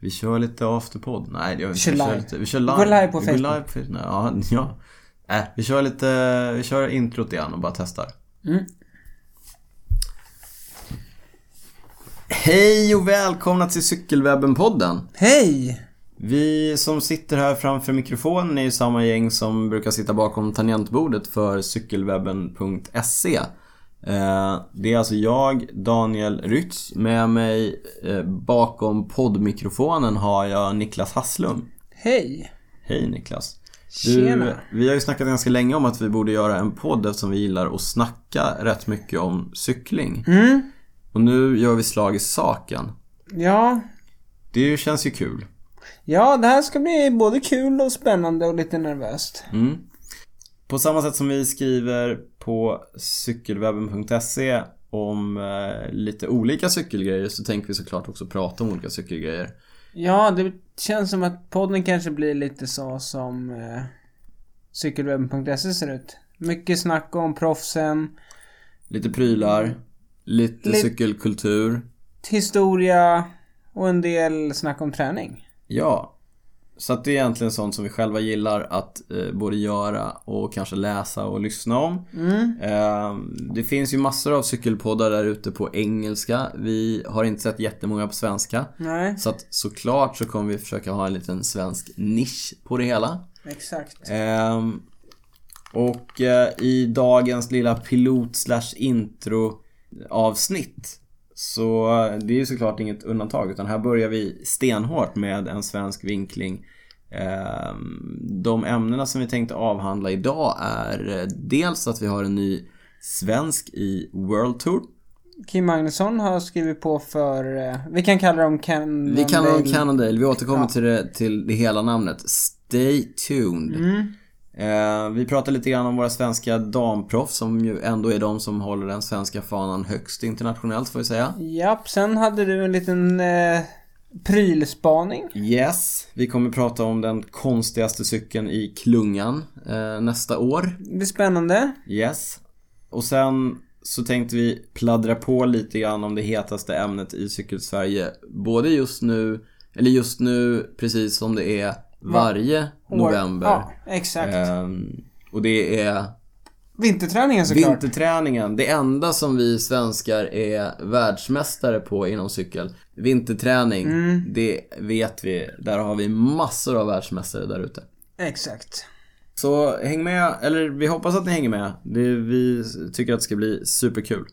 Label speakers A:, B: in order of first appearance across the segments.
A: Vi kör lite afterpod. Nej, det gör vi
B: kör
A: inte. Vi kör
B: live.
A: lite. Vi kör
B: Vi
A: live.
B: går live på
A: vi
B: Facebook.
A: Går live på Facebook. Ja, ja. Äh, vi kör lite, vi kör introt igen och bara testar.
B: Mm.
A: Hej och välkomna till Cykelwebben-podden.
B: Hej!
A: Vi som sitter här framför mikrofonen är ju samma gäng som brukar sitta bakom tangentbordet för cykelwebben.se. Eh, Det är alltså jag, Daniel Rytz. Med mig eh, bakom poddmikrofonen har jag Niklas Hasslum.
B: Hej!
A: Hej Niklas.
B: Tjena.
A: vi har ju snackat ganska länge om att vi borde göra en podd eftersom vi gillar att snacka rätt mycket om cykling.
B: Mm.
A: Och nu gör vi slag i saken.
B: Ja.
A: Det känns ju kul.
B: Ja, det här ska bli både kul och spännande och lite nervöst.
A: Mm. På samma sätt som vi skriver på cykelwebben.se om eh, lite olika cykelgrejer så tänker vi såklart också prata om olika cykelgrejer.
B: Ja, det känns som att podden kanske blir lite så som eh, cykelwebben.se ser ut. Mycket snack om proffsen,
A: Lite prylar, lite
B: Lite-
A: cykelkultur.
B: historia och en del snack om träning.
A: Ja. Så att det är egentligen sånt som vi själva gillar att eh, både göra och kanske läsa och lyssna om.
B: Mm.
A: Eh, det finns ju massor av cykelpoddar där ute på engelska. Vi har inte sett jättemånga på svenska.
B: Nej,
A: Så att såklart så kommer vi försöka ha en liten svensk nisch på det hela.
B: exakt.
A: Ehm, och eh, i dagens lilla pilot slash intro avsnitt så eh, det är ju såklart inget undantag utan här börjar vi stenhårt med en svensk vinkling. Ehm, De ämnena som vi tänkte avhandla idag är eh, dels att vi har en ny svensk i World Tour.
B: Kim Magnusson har skrivit på för, eh, vi kan kalla dem Ken...
A: Vi kallar honom
B: Dale.
A: Cannondale. Vi återkommer
B: Ja.
A: till, det, till det hela namnet. Stay tuned.
B: Mm.
A: Eh, vi pratar lite grann om våra svenska damproffs som ju ändå är de som håller den svenska fanan högst internationellt får vi säga.
B: Japp, sen hade du en liten eh, prylspaning.
A: Yes, vi kommer prata om den konstigaste cykeln i klungan eh, nästa år.
B: Det blir spännande.
A: Yes. Och sen så tänkte vi pladdra på lite grann om det hetaste ämnet i Cykelsverige. Både just nu, eller just nu precis som det är varje november.
B: Ja, exakt.
A: Ehm, och det är
B: Vinterträningen såklart.
A: vinterträningen. Det enda som vi svenskar är världsmästare på inom cykel. Vinterträning,
B: Mm.
A: det vet vi. Där har vi massor av världsmästare där ute.
B: Exakt.
A: Så häng med, eller vi hoppas att ni hänger med. Det, vi tycker att det ska bli superkul.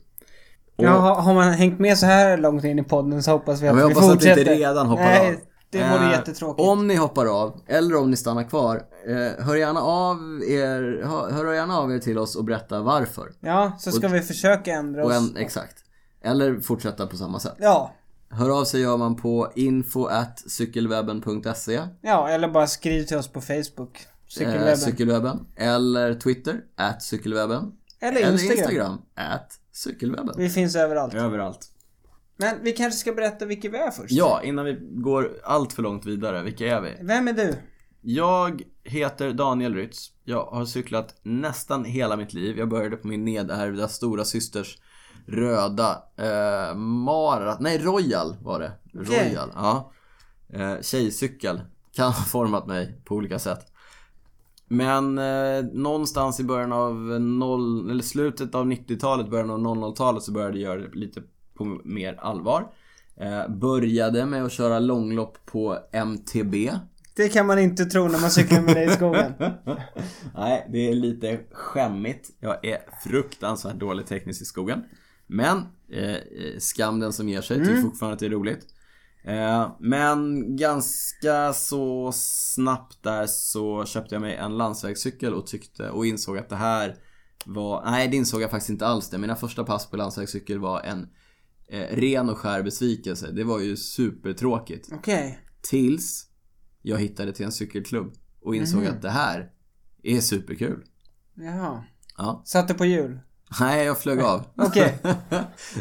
A: Och
B: Ja, har- har man hängt med så här långt in i podden så hoppas vi att
A: men jag
B: vi
A: hoppas att ni
B: fortsätter.
A: inte redan hoppar
B: Nej,
A: av.
B: det vore
A: Eh,
B: jättetråkigt.
A: Om ni hoppar av, eller om ni stannar kvar, eh, hör, gärna av er, hör, hör gärna av er till oss och berätta varför.
B: Ja, så ska vi försöka ändra
A: Och
B: oss.
A: en, exakt. Eller fortsätta på samma sätt.
B: Ja,
A: Hör av sig gör man på info at cykelwebben.se
B: ja, eller bara skriv till oss på Facebook. Cykelwebben.
A: eh, cykelwebben. Eller Twitter at cykelwebben.
B: eller,
A: Eller
B: Instagram.
A: Instagram at cykelwebben.
B: Vi finns överallt.
A: Överallt.
B: Men vi kanske ska berätta vilka vi är först.
A: Ja, innan vi går allt för långt vidare, vilka är vi?
B: Vem är du?
A: Jag heter Daniel Rytz. Jag har cyklat nästan hela mitt liv. Jag började på min nedärvda stora systers röda eh, Marat, nej Royal var det.
B: Okej.
A: Royal, ja. Eh, tjejcykel kan ha format mig på olika sätt. Men eh, någonstans i början av noll, eller slutet av 90-talet, början av 00-talet så började jag göra det lite på mer allvar. Eh, började med att köra långlopp på MTB.
B: Det kan man inte tro när man cyklar med dig i skogen.
A: Nej, det är lite skämmigt. Jag är fruktansvärt dålig tekniskt i skogen. Men eh, eh, skam den som ger sig. Tycker fortfarande att det är roligt. Eh, men ganska så snabbt där så köpte jag mig en landsvägscykel och tyckte och insåg att det här var, nej det insåg jag faktiskt inte alls det. Mina första pass på landsvägscykel var en eh, ren och skär besvikelse. Det var ju supertråkigt.
B: Okej.
A: Tills jag hittade till en cykelklubb och insåg
B: Mhm.
A: att det här är superkul.
B: Jaha.
A: Ja.
B: Satte på hjul.
A: Nej, jag flög av.
B: Okej. Jag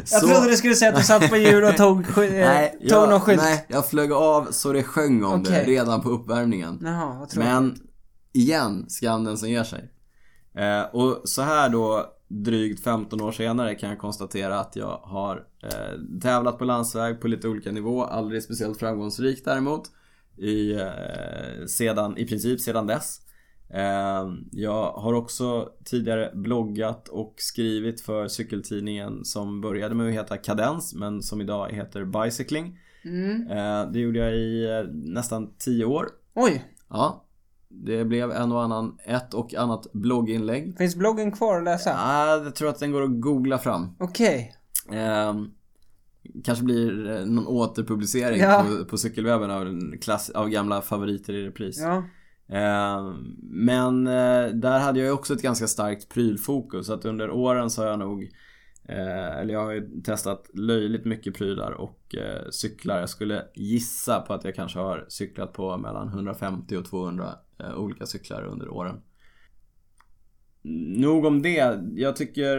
A: Så-
B: trodde du skulle säga att du satt på hjul och tog, sky- eh,
A: Nej,
B: tog
A: jag,
B: någon skylt.
A: nej, jag flög av så det sjöng om det
B: Okej.
A: redan på uppvärmningen.
B: Jaha, vad tror du?
A: Men igen, skam den som ger sig. Eh, och så här då drygt 15 år senare kan jag konstatera att jag har eh, tävlat på landsväg på lite olika nivå. Aldrig speciellt framgångsrikt däremot. I, eh, sedan, I princip sedan dess. Eh, jag har också tidigare bloggat och skrivit för cykeltidningen som började med att heta Kadens men som idag heter Bicycling.
B: Mm.
A: Eh, det gjorde jag i eh, nästan 10 år.
B: Oj,
A: Ja, det blev en och annan, ett och annat blogginlägg.
B: finns bloggen kvar att läsa?
A: Ah, jag tror att den går att googla fram.
B: Okej.
A: Ehm, kanske blir eh, någon återpublicering
B: Ja.
A: på, på cykelwebben av, en klass, av gamla favoriter i repris.
B: Ja.
A: Ehm, men eh, där hade jag ju också ett ganska starkt prylfokus. Så att under åren så har jag nog eh, eller jag har ju testat löjligt mycket prylar och eh, cyklar. Jag skulle gissa på att jag kanske har cyklat på mellan 150 och 200 eh, olika cyklar under åren. Nog om det. Jag tycker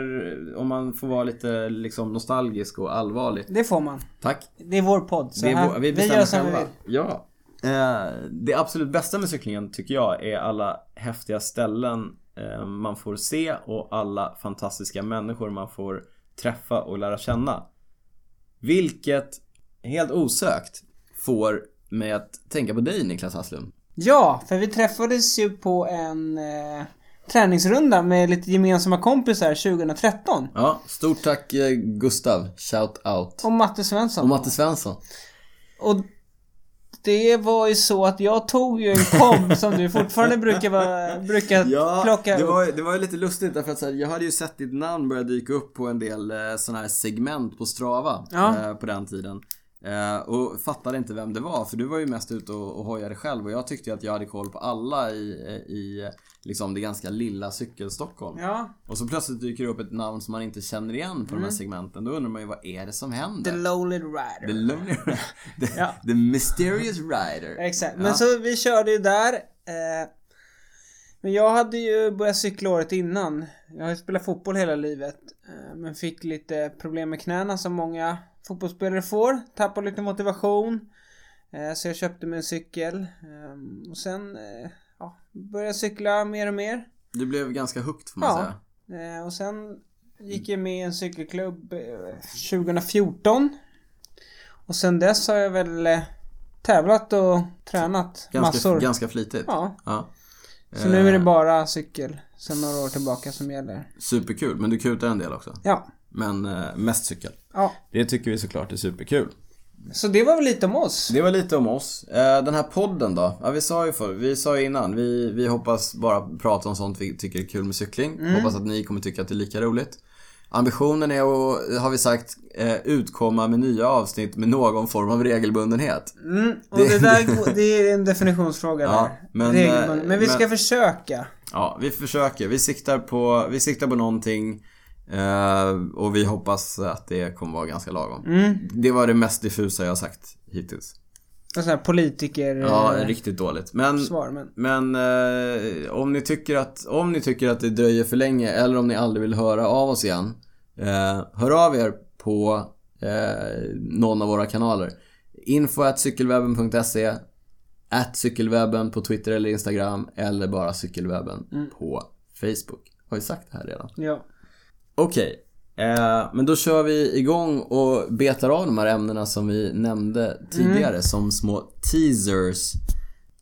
A: om man får vara lite liksom nostalgisk och allvarlig.
B: Det får man.
A: Tack.
B: Det är vår podd. Så
A: Det är
B: här,
A: vår-
B: vi,
A: vi bestämmer
B: gör som vi
A: själva.
B: vill.
A: Ja. Eh, det absolut bästa med cyklingen tycker jag är alla häftiga ställen eh, man får se och alla fantastiska människor man får träffa och lära känna. Vilket helt osökt får mig att tänka på dig Niklas Hasslum.
B: Ja, för vi träffades ju på en eh, träningsrunda med lite gemensamma kompisar 2013.
A: Ja, stort tack eh, Gustav. Shout out.
B: Och Matte Svensson.
A: Och Matte Svensson.
B: Och det var ju så att jag tog ju en kom som du fortfarande brukar, vara, brukar
A: Ja,
B: plocka
A: det
B: upp.
A: var, det var ju lite lustigt därför att så här, jag hade ju sett ditt namn börja dyka upp på en del eh, sådana här segment på Strava
B: Ja.
A: eh, på den tiden. Eh, och fattade inte vem det var för du var ju mest ute och, och hojade själv och jag tyckte ju att jag hade koll på alla i, eh, i eh, liksom det ganska lilla cykelstockholm.
B: Ja,
A: Och så plötsligt dyker det upp ett namn som man inte känner igen på de
B: Mm.
A: här segmenten. Då undrar man ju vad är det som
B: The
A: händer?
B: Lowly Rider.
A: The Lonely Rider. The,
B: Ja.
A: the Mysterious Rider.
B: Exakt.
A: Ja.
B: Men så vi körde ju där. Eh, men jag hade ju börjat cykla året innan. Jag har ju spelat fotboll hela livet. Eh, men fick lite problem med knäna som många fotbollsspelare får. Tappade lite motivation. Eh, så jag köpte mig en cykel. Eh, och sen eh, ja, började jag cykla mer och mer.
A: Du blev ganska hooked får man
B: Ja.
A: säga.
B: Eh, och sen gick jag med i en cykelklubb eh, 2014. Och sen dess har jag väl eh, tävlat och tränat
A: Ganska,
B: massor.
A: ganska flitigt.
B: Ja,
A: Ja.
B: så nu är
A: Eh.
B: det bara cykel sen några år tillbaka som gäller.
A: Superkul, men du kutar en del också.
B: Ja,
A: Men eh, mest cykel.
B: ja.
A: Det tycker vi såklart är superkul.
B: Så det var väl lite om oss.
A: Det var lite om oss. Eh, den här podden då? Ja, vi sa ju för, vi sa ju innan, vi, vi hoppas bara prata om sånt vi tycker är kul med cykling. Hoppas att ni kommer tycka att det är lika roligt. Ambitionen är att, har vi sagt, eh, utkomma med nya avsnitt med någon form av regelbundenhet.
B: Mm, och det, där det är en definitionsfråga
A: Ja,
B: där.
A: men,
B: Regelbundet.
A: eh,
B: men vi ska
A: men-
B: försöka.
A: Ja, vi försöker. Vi siktar på, vi siktar på någonting eh, och vi hoppas att det kommer vara ganska lagom. Det var det mest diffusa jag har sagt hittills.
B: En sån här politiker...
A: Ja,
B: eh,
A: riktigt dåligt. Men,
B: svar, men...
A: men eh, om, ni tycker att, om ni tycker att det dröjer för länge eller om ni aldrig vill höra av oss igen. Eh, hör av er på eh, någon av våra kanaler. Info at cykelwebben.se At cykelwebben på Twitter eller Instagram eller bara cykelwebben
B: Mm.
A: på Facebook. Har vi sagt det här redan?
B: Ja.
A: Okej, eh, men då kör vi igång och betar av de här ämnena som vi nämnde tidigare
B: Mm.
A: som små teasers.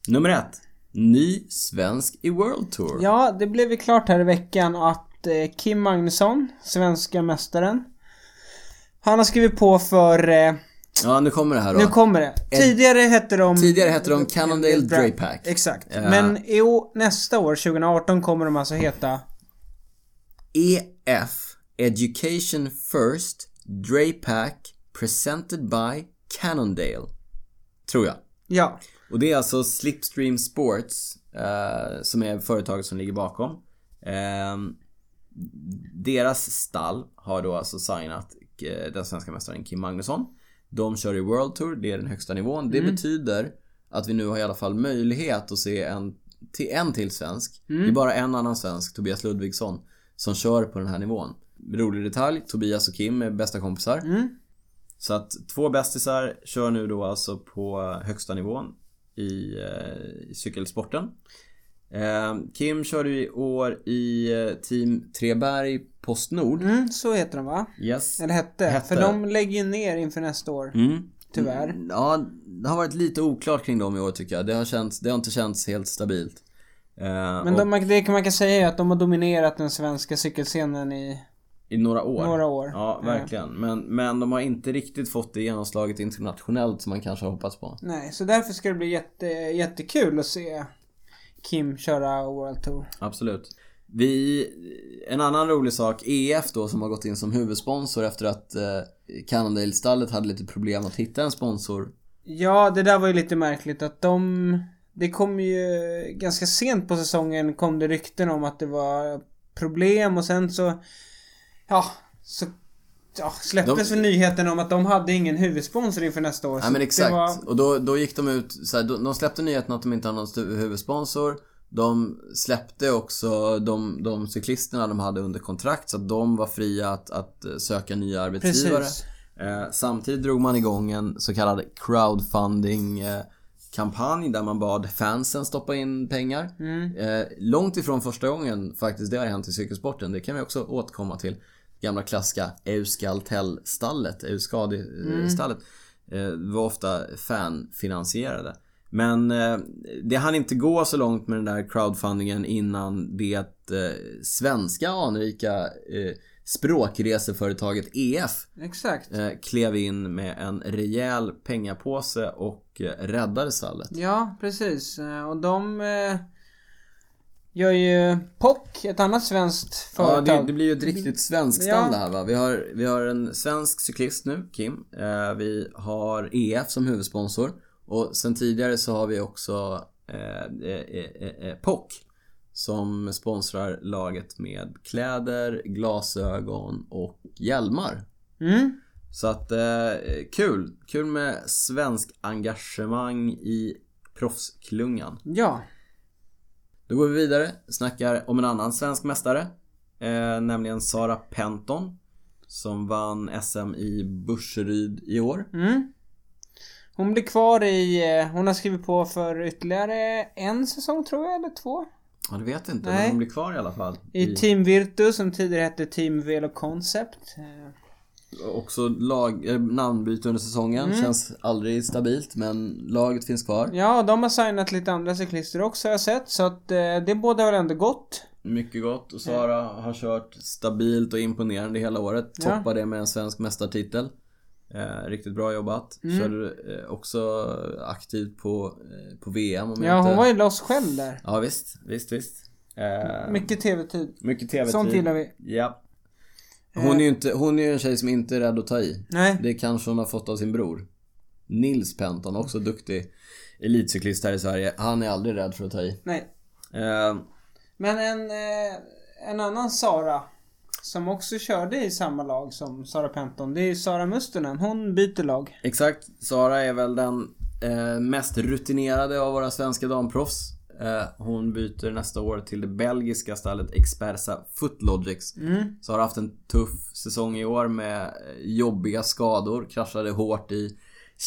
A: Nummer ett. Ny svensk i World Tour.
B: Ja, det blev ju klart här i veckan att eh, Kim Magnusson, svenska mästaren. Han har skrivit på för... Eh,
A: Ja, nu kommer det här då.
B: nu kommer det. Tidigare hette de...
A: Tidigare hette de Cannondale Dray Pack.
B: Exakt.
A: Ja.
B: Men i å- nästa år, 2018, kommer de alltså heta...
A: EF E Education First Dray Pack Presented by Cannondale. Tror jag.
B: Ja.
A: Och det är alltså Slipstream Sports eh, som är företaget som ligger bakom. Ehm, deras stall har då alltså signat eh, den svenska mästaren Kim Magnusson. De kör i World Tour, det är den högsta nivån. Det betyder att vi nu har i alla fall möjlighet att se en till, en till svensk. Det är bara en annan svensk, Tobias Ludvigsson, som kör på den här nivån. Rolig detalj, Tobias och Kim är bästa kompisar. Så att två bästisar kör nu då alltså på högsta nivån i, eh, i cykelsporten. Eh, Kim körde ju i år i eh, Team Treberg Postnord.
B: Mm, så heter de va?
A: Yes.
B: Eller hette.
A: Hette.
B: För de lägger ju ner inför nästa år.
A: Mm.
B: Tyvärr.
A: Mm, Ja, det har varit lite oklart kring dem i år tycker jag. Det har, känts, det har inte känts helt stabilt. Eh,
B: Men
A: och
B: de, det kan- man kan säga är att de har dominerat den svenska cykelscenen i
A: I några år.
B: några år.
A: Ja,
B: Eh,
A: verkligen. Men, men de har inte riktigt fått det genomslaget internationellt som man kanske har hoppats på.
B: Nej, så därför ska det bli jätte, jättekul att se Kim köra World Tour.
A: Absolut. Vi, en annan rolig sak, EF då som har gått in som huvudsponsor efter att eh, Cannondale-stallet hade lite problem att hitta en sponsor.
B: Ja, det där var ju lite märkligt att de... Det kom ju ganska sent på säsongen kom det rykten om att det var problem och sen så... Ja, så... Ja, släpptes
A: De-
B: väl nyheten om att de hade ingen huvudsponsor inför nästa år.
A: Ja
B: så
A: men
B: det
A: exakt.
B: var-
A: Och då, då gick de ut, så här, de, de släppte nyheten att de inte hade någon stu- huvudsponsor. De släppte också de, de cyklisterna de hade under kontrakt så att de var fria att, att eh, söka nya arbetsgivare.
B: Precis.
A: Eh, samtidigt drog man igång en så kallad crowdfunding eh, kampanj där man bad fansen stoppa in pengar. Eh, långt ifrån första gången faktiskt det har hänt i cykelsporten. Det kan vi också återkomma till. Gamla klassiska Euskaltell-stallet, Euskadi-stallet. Eh, var ofta fanfinansierade. Men eh, det hann inte gå så långt med den där crowdfundingen innan det eh, svenska anrika eh, språkreseföretaget E EF
B: Exakt.
A: eh, klev in med en rejäl pengapåse och eh, räddade stallet.
B: Ja, precis. Eh, Och de... Eh, gör ju POC, ett annat svenskt
A: Ja,
B: företag.
A: det, det blir ju ett riktigt svenskt stall
B: Ja.
A: det här va. Vi har, vi har en svensk cyklist nu, Kim. Eh, vi har EF som huvudsponsor. Och sen tidigare så har vi också eh, eh, eh, eh, POC. Som sponsrar laget med kläder, glasögon och hjälmar.
B: Mm.
A: Så att eh, kul! Kul med svensk engagemang i proffsklungan.
B: Ja.
A: Då går vi vidare, snackar om en annan svensk mästare. Eh, nämligen Sara Penton. Som vann SM i Burseryd i år.
B: Mm. Hon blir kvar i... eh, Hon har skrivit på för ytterligare en säsong tror jag, eller två.
A: Ja, det vet jag inte.
B: Nej.
A: Men hon blir kvar i alla fall.
B: I Team Virtu som tidigare hette Team Velo Concept. Eh,
A: Också lag, eh, namnbyte under säsongen. Känns aldrig stabilt men laget finns kvar.
B: Mm. Ja, och de har signat lite andra cyklister också har jag sett. Så att eh, det båda väl ändå gott.
A: Mycket gott och Sara har kört stabilt och imponerande hela året.
B: Ja.
A: Toppade med en svensk mästartitel. Eh, riktigt bra jobbat.
B: Mm.
A: Körde eh, också aktivt på, eh, på VM om jag
B: Ja,
A: inte...
B: hon var ju loss själv där.
A: Ja visst, visst, visst. Eh,
B: Mycket TV-tid.
A: mycket TV-tid.
B: Sånt gillar vi.
A: Ja. Hon är ju inte, hon är ju en tjej som inte är rädd att ta i.
B: Nej.
A: Det kanske hon har fått av sin bror. Nils Penton, också duktig elitcyklist här i Sverige. Han är aldrig rädd för att ta i.
B: Nej.
A: Eh,
B: Men en, eh, en annan Sara som också körde i samma lag som Sara Penton, det är ju Sara Mustonen. Hon byter lag.
A: Exakt. Sara är väl den eh, mest rutinerade av våra svenska damproffs. Eh, hon byter nästa år till det belgiska stallet Expersa Footlogics. Så har haft en tuff säsong i år med eh, jobbiga skador. Kraschade hårt i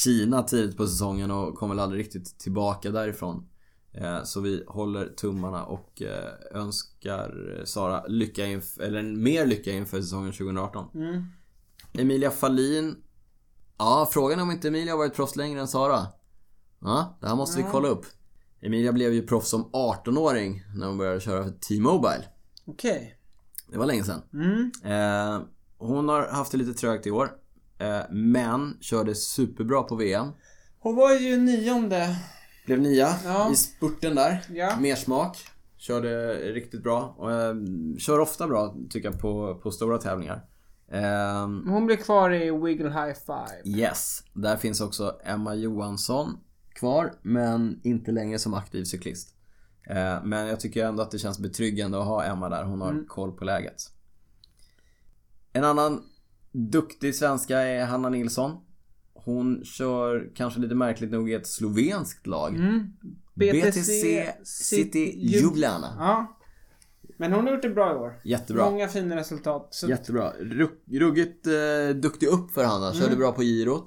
A: Kina tidigt på säsongen och kom väl aldrig riktigt tillbaka därifrån. Eh, Så vi håller tummarna och eh, önskar eh, Sara lycka inf- eller mer lycka inför säsongen 2018.
B: Mm,
A: Emilia Fahlin Ja, frågan är om inte Emilia har varit proffs längre än Sara. Ja, det här måste vi kolla upp. Emilia blev ju proffs som 18-åring när hon började köra för T-Mobile.
B: Okej.
A: Det var länge sedan.
B: Mm.
A: Eh, hon har haft det lite trögt i år. Eh, men körde superbra på VM.
B: Hon var ju nionde.
A: Blev nia
B: Ja.
A: i spurten där.
B: Ja.
A: Mer smak. Körde riktigt bra. Och, eh, kör ofta bra tycker jag på, på stora tävlingar. Ehm,
B: Hon blir kvar i Wiggle High Five.
A: Yes, där finns också Emma Johansson kvar men inte längre som aktiv cyklist. Eh, Men jag tycker ändå att det känns betryggande att ha Emma där. Hon har
B: Mm.
A: koll på läget. En annan duktig svenska är Hanna Nilsson. Hon kör kanske lite märkligt nog i ett slovenskt lag.
B: Mm.
A: BTC City Ljubljana.
B: Ja. Men hon har gjort det bra i år.
A: Jättebra.
B: Många fina resultat. Så
A: Jättebra. Rugg- Ruggigt eh, duktig upp för Hanna. Körde bra på girot.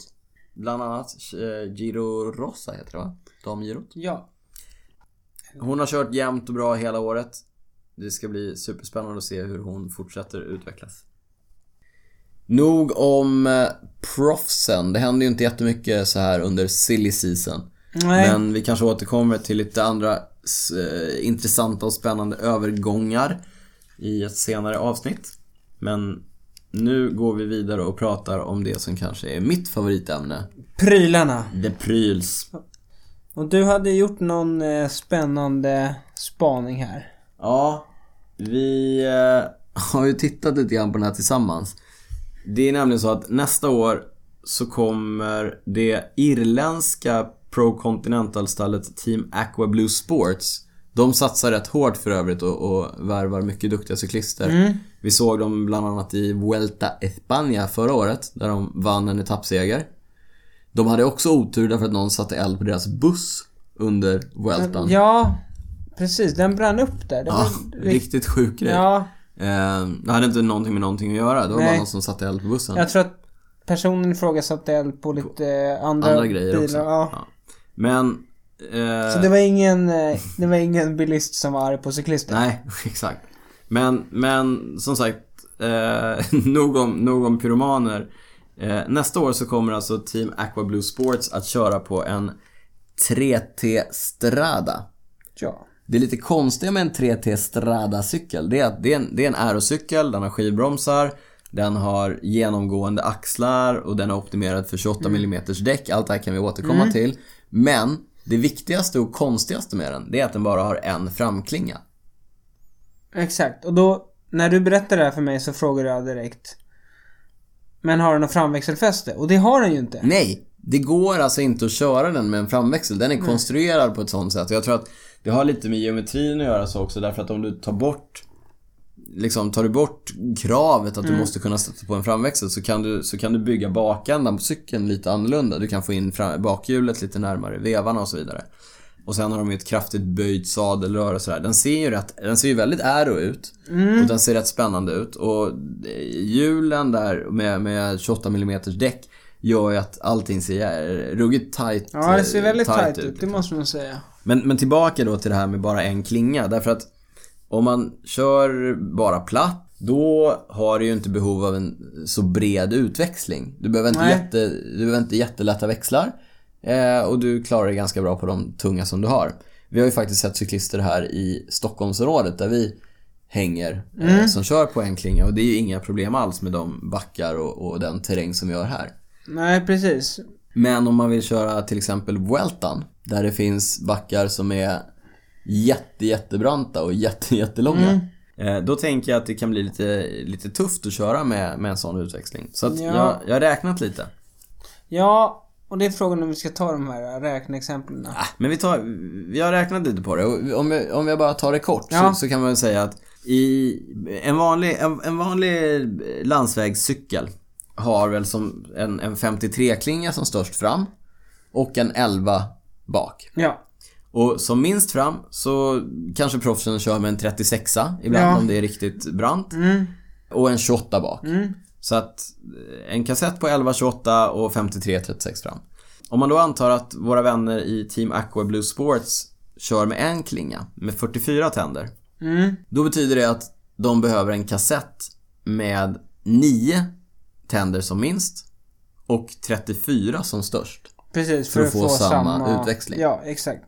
A: Bland annat eh, Giro Rossa heter det va? Damgirot.
B: Ja.
A: Hon har kört jämnt och bra hela året. Det ska bli superspännande att se hur hon fortsätter utvecklas. Nog om eh, proffsen. Det händer ju inte jättemycket så här under silly season.
B: Nej.
A: Men vi kanske återkommer till lite andra s- eh, intressanta och spännande övergångar i ett senare avsnitt. Men nu går vi vidare och pratar om det som kanske är mitt favoritämne.
B: Prylarna.
A: The Pryls.
B: Och du hade gjort någon eh, spännande spaning här.
A: Ja, vi eh, har ju tittat lite grann på den här tillsammans. Det är nämligen så att nästa år så kommer det irländska Pro Continental-stallet Team Aqua Blue Sports. De satsar rätt hårt för övrigt och, och värvar mycket duktiga cyklister. Vi såg dem bland annat i Vuelta España förra året där de vann en etappseger. De hade också otur därför att någon satte eld på deras buss under Vueltan.
B: Ja, precis. Den brann upp där. Det var
A: Ja,
B: rikt-
A: riktigt sjuk grej.
B: ja,
A: Eh, det hade inte någonting med någonting att göra. Det var bara
B: Nej.
A: någon som satte eld på bussen.
B: jag tror att personen i fråga satte eld på lite eh, andra,
A: Andra grejer
B: bilar.
A: också.
B: Ja.
A: Ja. Men... eh,
B: Så det var ingen, eh, det var ingen bilist som var arg på cyklisten.
A: Nej, exakt. Men, men som sagt, eh, nog, om, nog om pyromaner. Eh, nästa år så kommer alltså Team Aqua Blue Sports att köra på en 3T Strada.
B: Ja.
A: Det lite konstiga med en 3T Strada-cykel, det är att det är, en, det är en aerocykel, den har skivbromsar, den har genomgående axlar och den är optimerad för 28 mm däck. Allt det här kan vi återkomma till. Men det viktigaste och konstigaste med den, det är att den bara har en framklinga.
B: Exakt. Och då, när du berättade det här för mig så frågade jag direkt. Men har den något framväxelfäste? Och det har den ju inte.
A: Nej, det går alltså inte att köra den med en framväxel. Den är konstruerad på ett sånt sätt. Och jag tror att det har lite med geometrin att göra så också därför att om du tar bort Liksom tar du bort kravet att du måste kunna sätta på en framväxel så kan, du, så kan du bygga bakändan på cykeln lite annorlunda. Du kan få in fram, bakhjulet lite närmare vevarna och så vidare. Och sen har de ju ett kraftigt böjt sadelrör och sådär. Den ser ju, rätt, den ser ju väldigt aero ut.
B: Mm.
A: Och den ser rätt spännande ut. Och eh, hjulen där med, med 28 mm däck gör ju att allting ser jä- ruggigt tight
B: Ja, det ser väldigt
A: eh,
B: tajt ut. Det
A: liksom.
B: måste man säga.
A: Men, men tillbaka då till det här med bara en klinga. Därför att om man kör bara platt, då har du ju inte behov av en så bred utväxling. Du behöver inte,
B: Nej.
A: jätte, du behöver inte jättelätta växlar. Eh, och du klarar dig ganska bra på de tunga som du har. Vi har ju faktiskt sett cyklister här i Stockholmsområdet där vi hänger eh, som kör på en klinga och det är ju inga problem alls med de backar och, och den terräng som vi har här.
B: Nej, precis.
A: Men om man vill köra till exempel Vueltan där det finns backar som är jätte jättebranta och jätte jättelånga.
B: Mm.
A: Eh, Då tänker jag att det kan bli lite, lite tufft att köra med, med en sån utväxling. Så att
B: Ja.
A: jag, jag har räknat lite.
B: Ja, och det är frågan om vi ska ta de här eh, räkneexemplen.
A: Ah, Men vi tar, vi har räknat lite på det och om jag, om jag bara tar det kort
B: Ja.
A: så, så kan man väl säga att i en vanlig, en, en vanlig landsvägscykel har väl som en, en 53-klinga som störst fram och en 11 bak.
B: Ja.
A: Och som minst fram så kanske proffsen kör med en 36a ibland
B: Ja.
A: om det är riktigt brant.
B: Mm.
A: Och en 28 bak. Så att eh, en kassett på 11 28 och 53 36 fram. Om man då antar att våra vänner i Team Aqua Blue Sports kör med en klinga med 44 tänder.
B: Mm.
A: Då betyder det att de behöver en kassett med 9 tänder som minst och 34 som störst.
B: Precis, för, att få, samma,
A: utväxling.
B: Ja, exakt.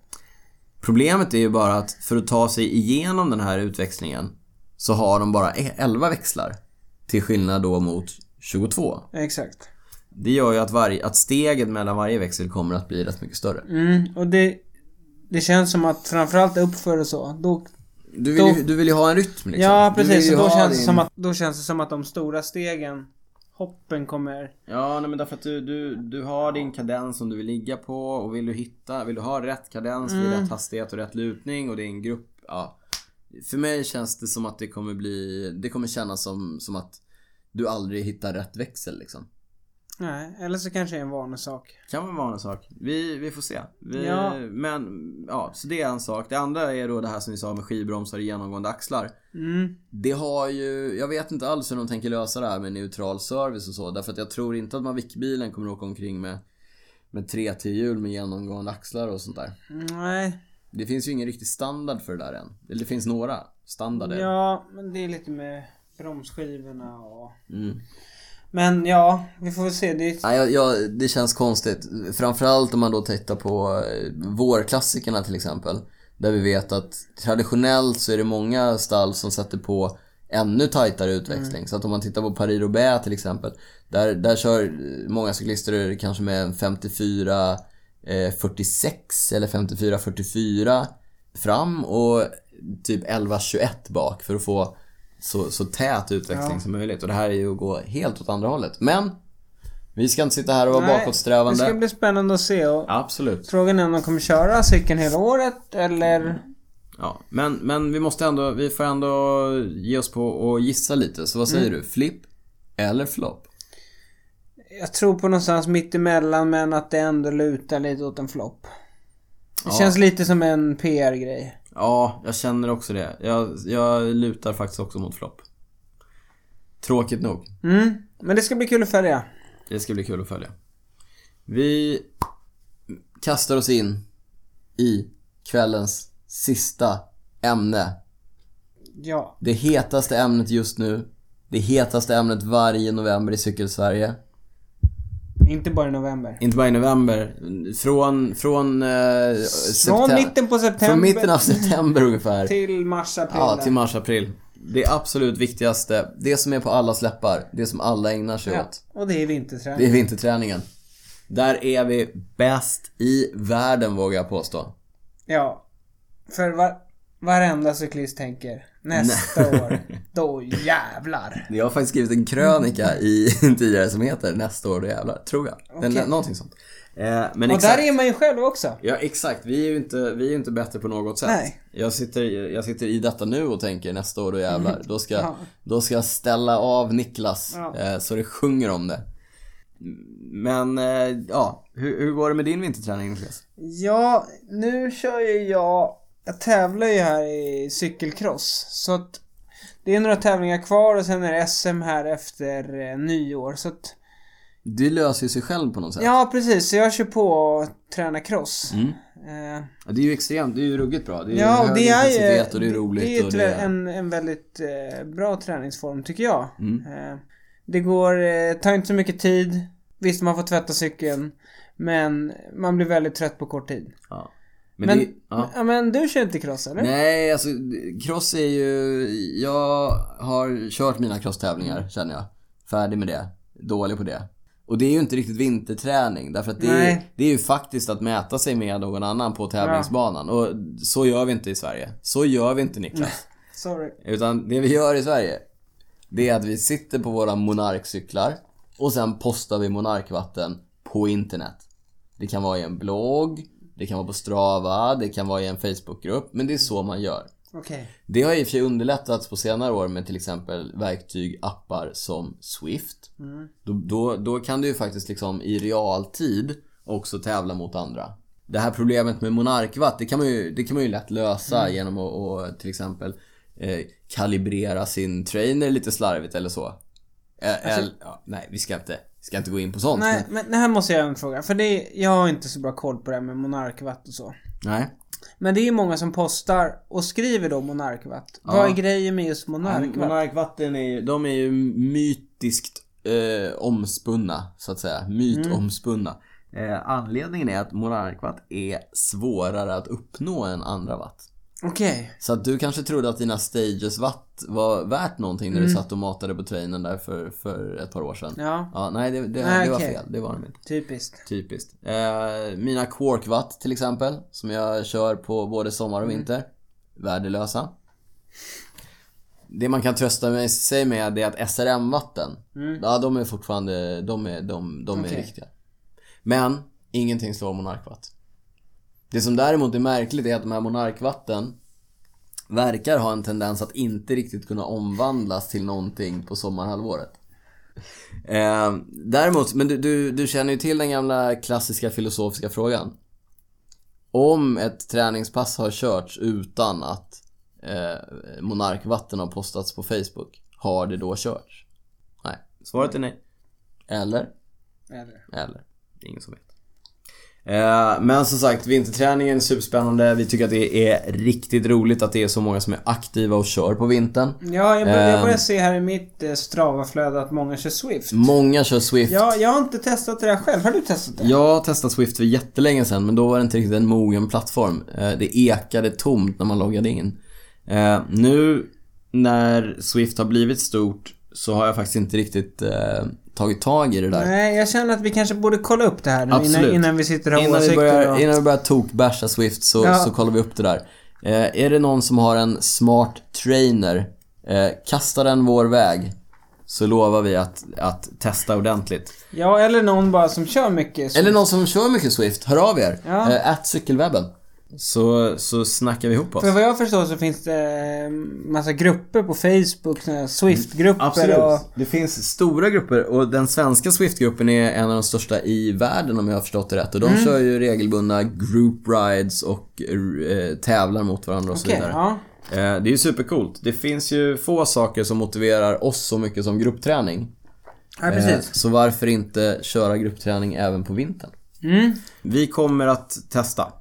A: Problemet är ju bara att för att ta sig igenom den här utväxlingen så har de bara 11 växlar. Till skillnad då mot 22.
B: Exakt.
A: Det gör ju att, varje, att steget mellan varje växel kommer att bli rätt mycket större.
B: Mm, och det, det känns som att framförallt uppför och så, då...
A: Du vill, ju, du vill ju ha en rytm liksom.
B: Ja,
A: Du vill
B: precis.
A: ju
B: Och då
A: ha
B: känns, det
A: din-
B: som att, då känns det som att de stora stegen, hoppen kommer...
A: Ja, nej, men därför att du, du, du har din kadens som du vill ligga på och vill du hitta, vill du ha rätt kadens
B: Mm.
A: vid rätt hastighet och rätt lutning och det är en grupp, ja. För mig känns det som att det kommer bli, det kommer kännas som, som att du aldrig hittar rätt växel liksom.
B: Nej, eller så kanske det är en vanlig sak.
A: Kan väl vara en sak. Vi, vi får se. Vi,
B: Ja.
A: Men ja, så det är en sak. Det andra är då det här som vi sa med skivbromsar och genomgående axlar.
B: Mm.
A: Det har ju, jag vet inte alls hur de tänker lösa det här med neutral service och så. Därför att jag tror inte att Mavic-bilen kommer att åka omkring med, med 3T-hjul med genomgående axlar och sånt där.
B: Nej.
A: Det finns ju ingen riktig standard för det där än. Eller det finns några standarder.
B: Ja, men det är lite med bromsskivorna och...
A: Mm.
B: Men ja, vi får väl se. Det är...
A: Nej, jag, jag, det känns konstigt. Framförallt om man då tittar på eh, vårklassikerna till exempel. Där vi vet att traditionellt så är det många stall som sätter på ännu tajtare utväxling. Så att om man tittar på Paris roubaix till exempel. Där, där kör eh, många cyklister kanske med en 54 eh, 46 eller 54 44 fram och typ 11 21 bak för att få så, så tät utväxling
B: Ja.
A: som möjligt. Och det här är ju att gå helt åt andra hållet. Men vi ska inte sitta här och vara
B: Nej,
A: bakåtsträvande.
B: Det ska bli spännande att se. Och
A: Absolut.
B: Frågan är om de kommer köra cykeln hela året eller...
A: Ja, men, men vi måste ändå, vi får ändå ge oss på och gissa lite. Så vad säger du? Flipp eller flopp?
B: Jag tror på någonstans mitt emellan men att det ändå lutar lite åt en flopp. Det känns lite som en PR-grej.
A: Ja, jag känner också det. Jag, jag lutar faktiskt också mot flopp. Tråkigt nog.
B: Mm. Men det ska bli kul att följa.
A: Det ska bli kul att följa. Vi kastar oss in i kvällens sista ämne.
B: Ja.
A: Det hetaste ämnet just nu. Det hetaste ämnet varje november i Cykelsverige.
B: Inte bara i november.
A: Inte bara i november. Från, från, eh,
B: Från
A: septem-
B: mitten på september
A: från mitten av september ungefär.
B: till mars-april.
A: Ja, till mars-april. Det absolut viktigaste. Det som är på allas läppar. Det som alla ägnar sig
B: ja.
A: åt.
B: Och det är
A: Det
B: vinterträning.
A: är vinterträningen. Där är vi bäst i världen vågar jag påstå.
B: Ja. För var... varenda cyklist tänker nästa år, då jävlar.
A: Jag har faktiskt skrivit en krönika i tidigare som heter Nästa år då jävlar, tror jag. Den,
B: Okej.
A: Någonting sånt. Eh, men
B: Och
A: exakt.
B: där är man ju själv också.
A: Ja exakt, vi är ju inte, vi är ju inte bättre på något sätt.
B: Nej.
A: Jag, sitter, jag sitter i detta nu och tänker nästa år då jävlar, då ska,
B: Ja.
A: då ska jag ställa av Niklas
B: Ja.
A: eh, så det sjunger om det. Men eh, ja, hur, hur går det med din vinterträning Niklas?
B: Ja, nu kör ju jag... Jag tävlar ju här i cykelcross. Så att det är några tävlingar kvar och sen är det SM här efter eh, nyår. Så att,
A: Du löser ju sig själv på något sätt.
B: ja, precis. Så jag kör på och tränar cross.
A: Mm.
B: Eh,
A: Ja, Det är ju extremt, det är ju ruggigt bra. Det är
B: ja,
A: ju
B: och
A: hög
B: det är ju...
A: intensitet och det är roligt
B: det är ju
A: och
B: tyvärr
A: det är...
B: En, en väldigt eh, bra träningsform tycker jag.
A: Mm.
B: Eh, det går... Eh, tar inte så mycket tid. Visst, man får tvätta cykeln. Men man blir väldigt trött på kort tid.
A: Ja. Men,
B: Men,
A: det, ja.
B: ja, men du kör inte cross eller?
A: Nej, alltså cross är ju... Jag har kört mina
B: Mm.
A: crosstävlingar känner jag. Färdig med det. Dålig på det. Och det är ju inte riktigt vinterträning därför att det är, ju-
B: Nej.
A: det är ju faktiskt att mäta sig med någon annan på tävlingsbanan. Och så gör vi inte i Sverige. Så gör vi inte Niklas.
B: Sorry.
A: Utan det vi gör i Sverige, det är att vi sitter på våra monarkcyklar och sen postar vi monarkvatten på internet. Det kan vara i en blogg, det kan vara på Strava, det kan vara i en Facebookgrupp. Men det är så man gör.
B: Okej.
A: Det har i och för sig underlättats på senare år med till exempel verktyg, appar som Swift.
B: Mm.
A: Då, då, då kan du ju faktiskt liksom i realtid också tävla mot andra. Det här problemet med monarkvatt, det kan man ju, det kan man ju lätt lösa
B: Mm.
A: genom att, att till exempel eh, kalibrera sin trainer lite slarvigt eller så. Eh, eller, ja, nej, vi ska inte, vi ska inte gå in på sånt.
B: Alltså- Nej,
A: Men,
B: men det här måste jag göra en fråga. För det är, jag har inte så bra koll på det här med monarkvatt och så.
A: nej.
B: Men det är ju många som postar och skriver då monarkvatt. Vad är grejen med just monarkvatt?
A: Monarkvatten är ju, de är ju mytiskt eh, omspunna så att säga.
B: Mm.
A: Mytomspunna. Eh, anledningen är att monarkvatt är svårare att uppnå än andra vatt.
B: Okej.
A: Så att du kanske trodde att dina stagesvatt var värt någonting när du satt och matade på trainen där för, för ett par år sedan.
B: Mm. Ja,
A: Ja, nej det, det,
B: Nej,
A: det var
B: okej.
A: fel. Det var de inte.
B: typiskt.
A: Typiskt. Eh, mina quarkwatt till exempel, som jag kör på både sommar och vinter. Värdelösa. Det man kan trösta med, sig med är att SRM-vatten, ja de är fortfarande, de är, de, de är
B: Okej.
A: riktiga. Men, ingenting slår monarkvatt. Det som däremot är märkligt är att de här monarkvatten verkar ha en tendens att inte riktigt kunna omvandlas till någonting på sommarhalvåret. Eh, däremot, men du, du, du känner ju till den gamla klassiska filosofiska frågan. Om ett träningspass har körts utan att eh, monarkvatten har postats på Facebook, har det då körts? Nej. Svaret är nej. Eller?
B: Eller?
A: Eller? Det är ingen som vet. Eh, Men som sagt, vinterträningen är superspännande. Vi tycker att det är riktigt roligt att det är så många som är aktiva och kör på vintern.
B: Ja, jag börjar, jag
A: Ehm.
B: börjar se här i mitt eh, Strava-flöde att många kör Swift.
A: Många kör Swift.
B: Ja, jag har inte testat det där själv. Har du testat det?
A: Jag har testat Swift för jättelänge sedan men då var det inte riktigt en mogen plattform. Eh, Det ekade tomt när man loggade in. Eh, Nu när Swift har blivit stort så har jag faktiskt inte riktigt eh, tagit tag i det där.
B: Nej, jag känner att vi kanske borde kolla upp det här nu innan,
A: Absolut.
B: innan vi sitter och har
A: Innan vi,
B: åsikter.
A: börjar,
B: och...
A: innan vi börjar tokbasha Swift så,
B: Ja.
A: så kollar vi upp det där. Eh, är det någon som har en smart trainer, eh, kasta den vår väg. Så lovar vi att, att testa ordentligt.
B: Ja, eller någon bara som kör mycket. Så...
A: Eller någon som kör mycket Swift, hör av er.
B: Ja.
A: Eh, Att cykelwebben. Så, så snackar vi ihop oss.
B: För vad jag förstår så finns det eh, massa grupper på Facebook, såna här
A: Mm.
B: Swift-grupper och...
A: Det finns stora grupper och den svenska Swift-gruppen är en av de största i världen om jag har förstått det rätt. Och de
B: Mm.
A: kör ju regelbundna group rides och eh, tävlar mot varandra och så
B: Okej,
A: vidare.
B: ja.
A: Eh, Det är ju supercoolt. Det finns ju få saker som motiverar oss så mycket som gruppträning.
B: ja,
A: Eh,
B: precis.
A: Så varför inte köra gruppträning även på vintern?
B: Mm.
A: Vi kommer att testa.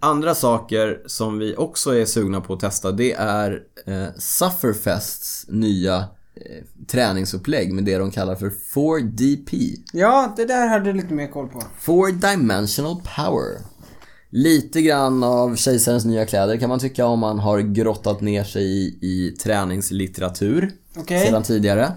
A: Andra saker som vi också är sugna på att testa det är eh, Sufferfests nya eh, träningsupplägg med det de kallar för 4DP.
B: Ja, det där hade du lite mer koll på.
A: Four dimensional power. Lite grann av kejsarens nya kläder kan man tycka om man har grottat ner sig i, i träningslitteratur
B: Okej.
A: sedan tidigare.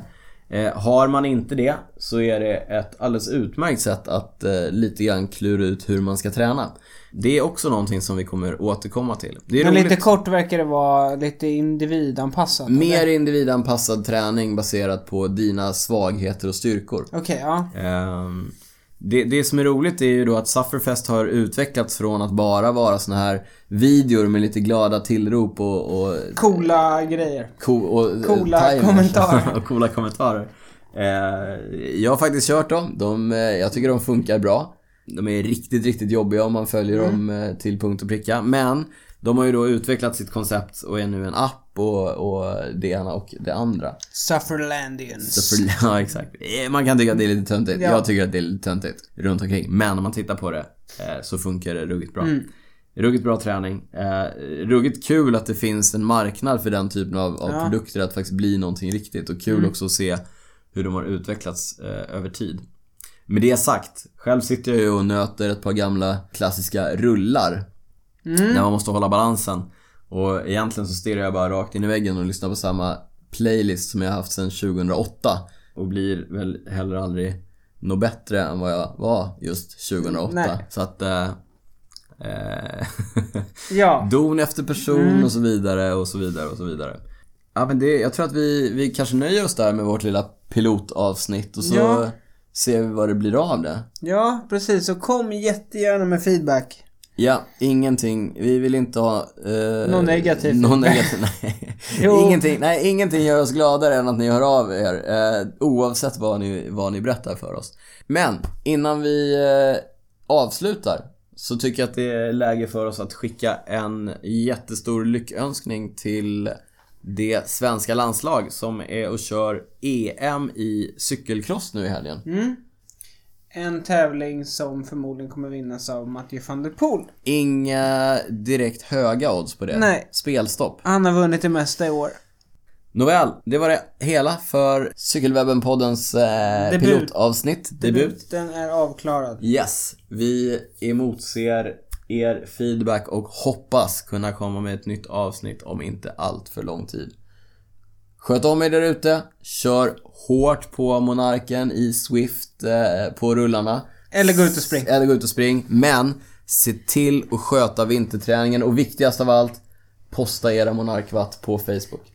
A: Eh, har man inte det så är det ett alldeles utmärkt sätt att eh, lite grann klura ut hur man ska träna. Det är också någonting som vi kommer återkomma till. Det är
B: Men
A: roligt.
B: lite kort verkar det vara lite individanpassat.
A: Mer individanpassad träning baserat på dina svagheter och styrkor.
B: Okej, ja.
A: Ehm, det, det som är roligt är ju då att Sufferfest har utvecklats från att bara vara såna här videor med lite glada tillrop och, och,
B: Coola grejer.
A: co- och
B: Coola
A: eh, timers.
B: kommentarer.
A: och coola kommentarer. Eh, jag har faktiskt kört dem. De, eh, jag tycker de funkar bra. De är riktigt, riktigt jobbiga om man följer
B: Mm.
A: dem eh, till punkt och pricka. Men de har ju då utvecklat sitt koncept och är nu en app och, och det ena och det andra.
B: Sufferlandians.
A: Så för, ja, exakt. Eh, Man kan tycka att det är lite töntigt.
B: Ja.
A: Jag tycker att det är lite töntigt runt omkring. Men om man tittar på det eh, så funkar det ruggigt bra.
B: Mm.
A: Ruggigt bra träning. Eh, Ruggigt kul att det finns en marknad för den typen av, av
B: Ja. Mm.
A: produkter att faktiskt bli någonting riktigt. Och kul också att se hur de har utvecklats eh, över tid. Med det sagt, själv sitter jag ju och nöter ett par gamla klassiska rullar. När man måste hålla balansen. Och egentligen så stirrar jag bara rakt in i väggen och lyssnar på samma playlist som jag har haft sedan 2008. Och blir väl heller aldrig något bättre än vad jag var just 2008.
B: Nej.
A: Så att... Eh, eh,
B: Ja. Mm.
A: don efter person och så vidare och så vidare och så vidare. Ja men det, jag tror att vi, vi kanske nöjer oss där med vårt lilla pilotavsnitt och så
B: Ja.
A: ser vi vad det blir av det.
B: Ja, precis. Så kom jättegärna med feedback.
A: Ja, ingenting. Vi vill inte ha... Eh,
B: Någon negativ
A: Någon
B: feedback.
A: negativ, nej.
B: Jo.
A: ingenting, nej. Ingenting gör oss gladare än att ni hör av er. Eh, oavsett vad ni, vad ni berättar för oss. Men innan vi eh, avslutar så tycker jag att det är läge för oss att skicka en jättestor lyckönskning till det svenska landslag som är och kör EM i cykelcross nu i helgen.
B: Mm. En tävling som förmodligen kommer vinnas av Mathieu van der Poel.
A: Inga direkt höga odds på det.
B: Nej.
A: Spelstopp.
B: Han har vunnit det mesta i år.
A: Nåväl, det var det hela för Cykelwebben-poddens eh,
B: Debut.
A: pilotavsnitt. Debut.
B: Den är avklarad.
A: Yes. Vi emotser er feedback och hoppas kunna komma med ett nytt avsnitt om inte allt för lång tid. Sköt om er där ute. Kör hårt på Monarken i Swift eh, på rullarna.
B: Eller gå ut och spring.
A: Eller gå ut och spring. Men se till att sköta vinterträningen och viktigast av allt, posta era Monarkvatt på Facebook.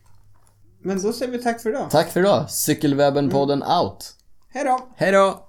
B: Men då säger vi tack för idag.
A: Tack för idag. Cykelwebben-podden out.
B: Hej då!
A: Hej då!